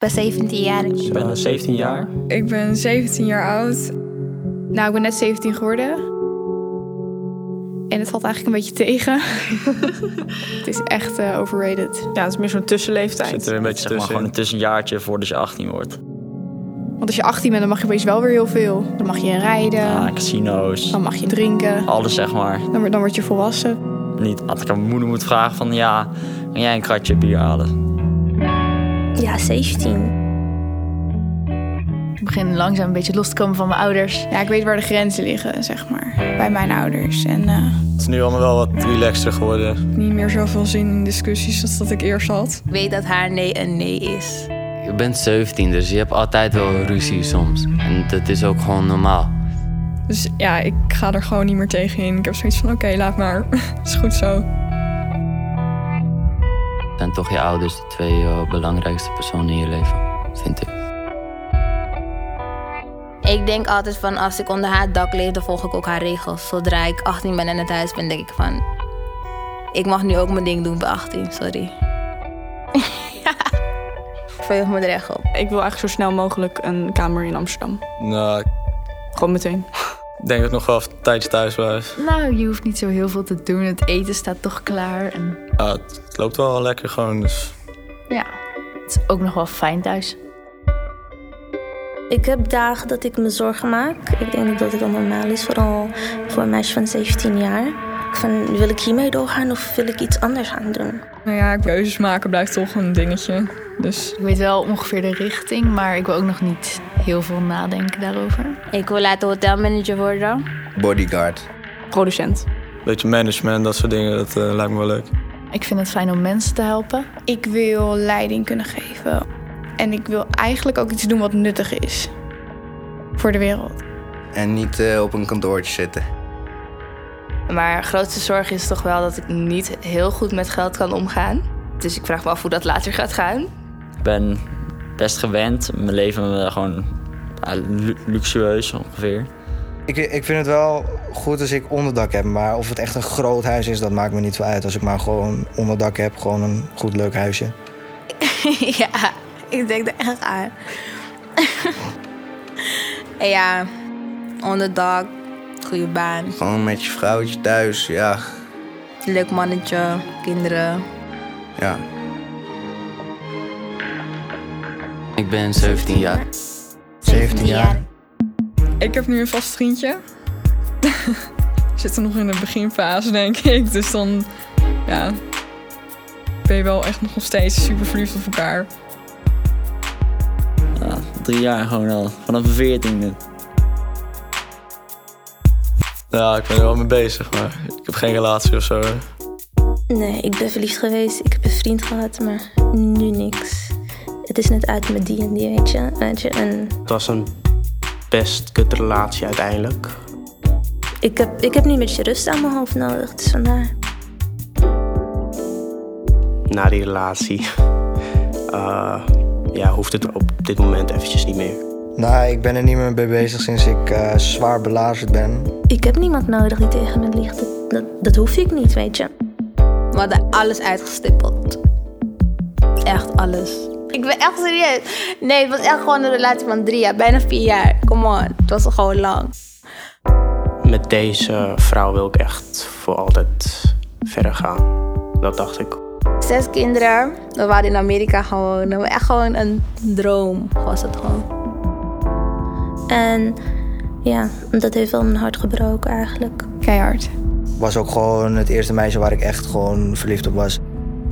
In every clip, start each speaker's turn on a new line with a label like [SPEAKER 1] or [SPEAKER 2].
[SPEAKER 1] Ik ben 17 jaar.
[SPEAKER 2] Ik ben 17 jaar.
[SPEAKER 3] Ik ben 17 jaar oud.
[SPEAKER 4] Nou, ik ben net 17 geworden. En het valt eigenlijk een beetje tegen. het is echt eh, overrated.
[SPEAKER 3] Ja, het is meer zo'n
[SPEAKER 2] Zit
[SPEAKER 3] tussenleeftijd.
[SPEAKER 2] er een beetje
[SPEAKER 5] Zeg maar
[SPEAKER 2] tussen.
[SPEAKER 5] gewoon een tussenjaartje voordat je 18 wordt.
[SPEAKER 4] Want als je 18 bent, dan mag je opeens wel weer heel veel. Dan mag je rijden,
[SPEAKER 5] Ah, casino's.
[SPEAKER 4] dan mag je drinken,
[SPEAKER 5] Alles zeg maar.
[SPEAKER 4] dan, word- dan word je volwassen.
[SPEAKER 5] Niet dat ik aan mijn moeder moet vragen van ja, kan jij een kratje bier halen?
[SPEAKER 1] Ja, 17.
[SPEAKER 6] Ik begin langzaam een beetje los te komen van mijn ouders.
[SPEAKER 4] Ja, ik weet waar de grenzen liggen, zeg maar. Bij mijn ouders. En eh,
[SPEAKER 7] Het is nu allemaal wel wat relaxter geworden.
[SPEAKER 3] Niet meer zoveel zin in discussies als dat ik eerst had.
[SPEAKER 1] Ik weet dat haar nee een nee is.
[SPEAKER 8] Je bent 17, dus je hebt altijd wel ruzie soms. En dat is ook gewoon normaal.
[SPEAKER 3] Dus ja, ik ga er gewoon niet meer tegen in. Ik heb zoiets van, oké, laat maar. is goed zo.
[SPEAKER 8] Zijn toch je ouders de twee eh, belangrijkste personen in je leven, vind ik.
[SPEAKER 1] Ik denk altijd van als ik onder haar dak leef, dan volg ik ook haar regels. Zodra ik 18 ben en het huis ben, denk ik van... Ik mag nu ook mijn ding doen bij 18, sorry. Ik Verheug me er echt op.
[SPEAKER 9] Ik wil eigenlijk zo snel mogelijk een kamer in Amsterdam.
[SPEAKER 7] Nou,
[SPEAKER 9] Gewoon meteen.
[SPEAKER 7] ik denk dat ik nog wel even een tijdje thuis was.
[SPEAKER 6] Nou, je hoeft niet zo heel veel te doen. Het eten staat toch klaar. En
[SPEAKER 7] Nou, het, het loopt wel lekker gewoon. Dus
[SPEAKER 6] ja, het is ook nog wel fijn thuis.
[SPEAKER 10] Ik heb dagen dat ik me zorgen maak. Ik denk dat dat wel normaal is, vooral voor een meisje van 17 jaar. Van, wil ik hiermee doorgaan of wil ik iets anders gaan doen?
[SPEAKER 3] Nou ja, keuzes maken blijft toch een dingetje. Dus
[SPEAKER 6] Ik weet wel ongeveer de richting, maar ik wil ook nog niet heel veel nadenken daarover.
[SPEAKER 1] Ik wil later hotelmanager worden.
[SPEAKER 11] Bodyguard.
[SPEAKER 9] Producent.
[SPEAKER 7] een beetje management, dat soort dingen, dat eh, lijkt me wel leuk.
[SPEAKER 6] Ik vind het fijn om mensen te helpen.
[SPEAKER 4] ik wil leiding kunnen geven. En ik wil eigenlijk ook iets doen wat nuttig is. Voor de wereld.
[SPEAKER 11] En niet eh, op een kantoortje zitten.
[SPEAKER 12] Maar grootste zorg is toch wel dat ik niet heel goed met geld kan omgaan. Dus ik vraag me af hoe dat later gaat gaan.
[SPEAKER 5] Ik ben best gewend. Mijn leven eh, gewoon ja, lu- luxueus ongeveer.
[SPEAKER 11] Ik, ik vind het wel goed als ik onderdak heb. Maar of het echt een groot huis is, dat maakt me niet veel uit. Als ik maar gewoon onderdak heb, gewoon een goed leuk huisje.
[SPEAKER 1] ja, ik denk er echt aan. En ja, onderdak, goede baan,
[SPEAKER 11] Gewoon met je vrouwtje thuis, ja.
[SPEAKER 1] leuk mannetje, kinderen.
[SPEAKER 11] ja.
[SPEAKER 8] Ik ben 17 jaar.
[SPEAKER 11] 17 jaar.
[SPEAKER 3] ik heb nu een vast vriendje. We zitten nog in de beginfase, denk ik. Dus dan, ja, ben je wel echt nog steeds super verliefd op elkaar.
[SPEAKER 5] Ja, drie jaar gewoon al. Vanaf mijn veertiende.
[SPEAKER 7] Nou, ik ben er wel mee bezig, maar ik heb geen relatie of zo.
[SPEAKER 10] Nee, ik ben verliefd geweest. Ik heb een vriend gehad, maar nu niks. Het is net uit met die en die, weet je. Weet je. En
[SPEAKER 2] Het was een best kut relatie uiteindelijk.
[SPEAKER 10] ik, heb, ik heb nu een beetje rust aan mijn hoofd nodig, dus vandaar.
[SPEAKER 2] Na die relatie eh, ja, hoeft het op dit moment eventjes niet meer.
[SPEAKER 11] Nou, ik ben er niet meer mee bezig sinds ik eh, zwaar belazerd ben.
[SPEAKER 10] Ik heb niemand nodig die tegen me ligt. Dat, dat, dat hoef ik niet, weet je.
[SPEAKER 1] We hadden alles uitgestippeld. Echt alles. Ik ben echt serieus. Nee, het was echt gewoon een relatie van drie jaar, bijna vier jaar. Come on, het was gewoon lang.
[SPEAKER 2] Met deze vrouw wil ik echt voor altijd verder gaan. Dat dacht ik.
[SPEAKER 1] Zes kinderen, we waren in Amerika gewoon. We Echt gewoon een droom was het gewoon.
[SPEAKER 10] En ja, dat heeft wel mijn hart gebroken eigenlijk.
[SPEAKER 4] Keihard.
[SPEAKER 11] Was ook gewoon het eerste meisje waar ik echt gewoon verliefd op was.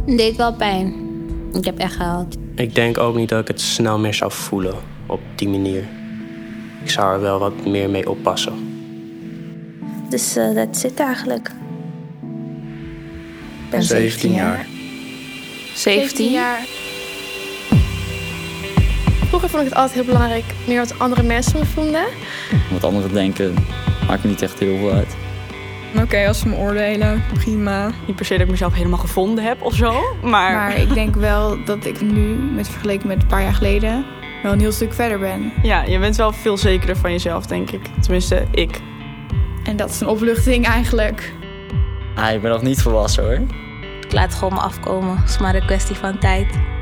[SPEAKER 1] Het deed wel pijn. Ik heb echt gehuild.
[SPEAKER 2] Ik denk ook niet dat ik het snel meer zou voelen op die manier. Ik zou er wel wat meer mee oppassen.
[SPEAKER 10] Dus eh, dat zit eigenlijk.
[SPEAKER 6] Ik ben 17 jaar.
[SPEAKER 4] 17 jaar.
[SPEAKER 12] Vroeger vond ik het altijd heel belangrijk meer wat andere mensen me vonden.
[SPEAKER 5] Wat anderen denken maakt me niet echt heel veel uit.
[SPEAKER 3] En Oké, als ze me oordelen, prima.
[SPEAKER 9] Niet per se dat ik mezelf helemaal gevonden heb of zo. Maar,
[SPEAKER 4] Maar ik denk wel dat ik nu, met vergeleken met een paar jaar geleden, wel een heel stuk verder ben.
[SPEAKER 9] ja, je bent wel veel zekerder van jezelf, denk ik. Tenminste, ik.
[SPEAKER 4] En dat is een opluchting eigenlijk.
[SPEAKER 5] Ah, ik ben nog niet volwassen hoor.
[SPEAKER 1] Ik laat het gewoon me afkomen. Het is maar een kwestie van tijd.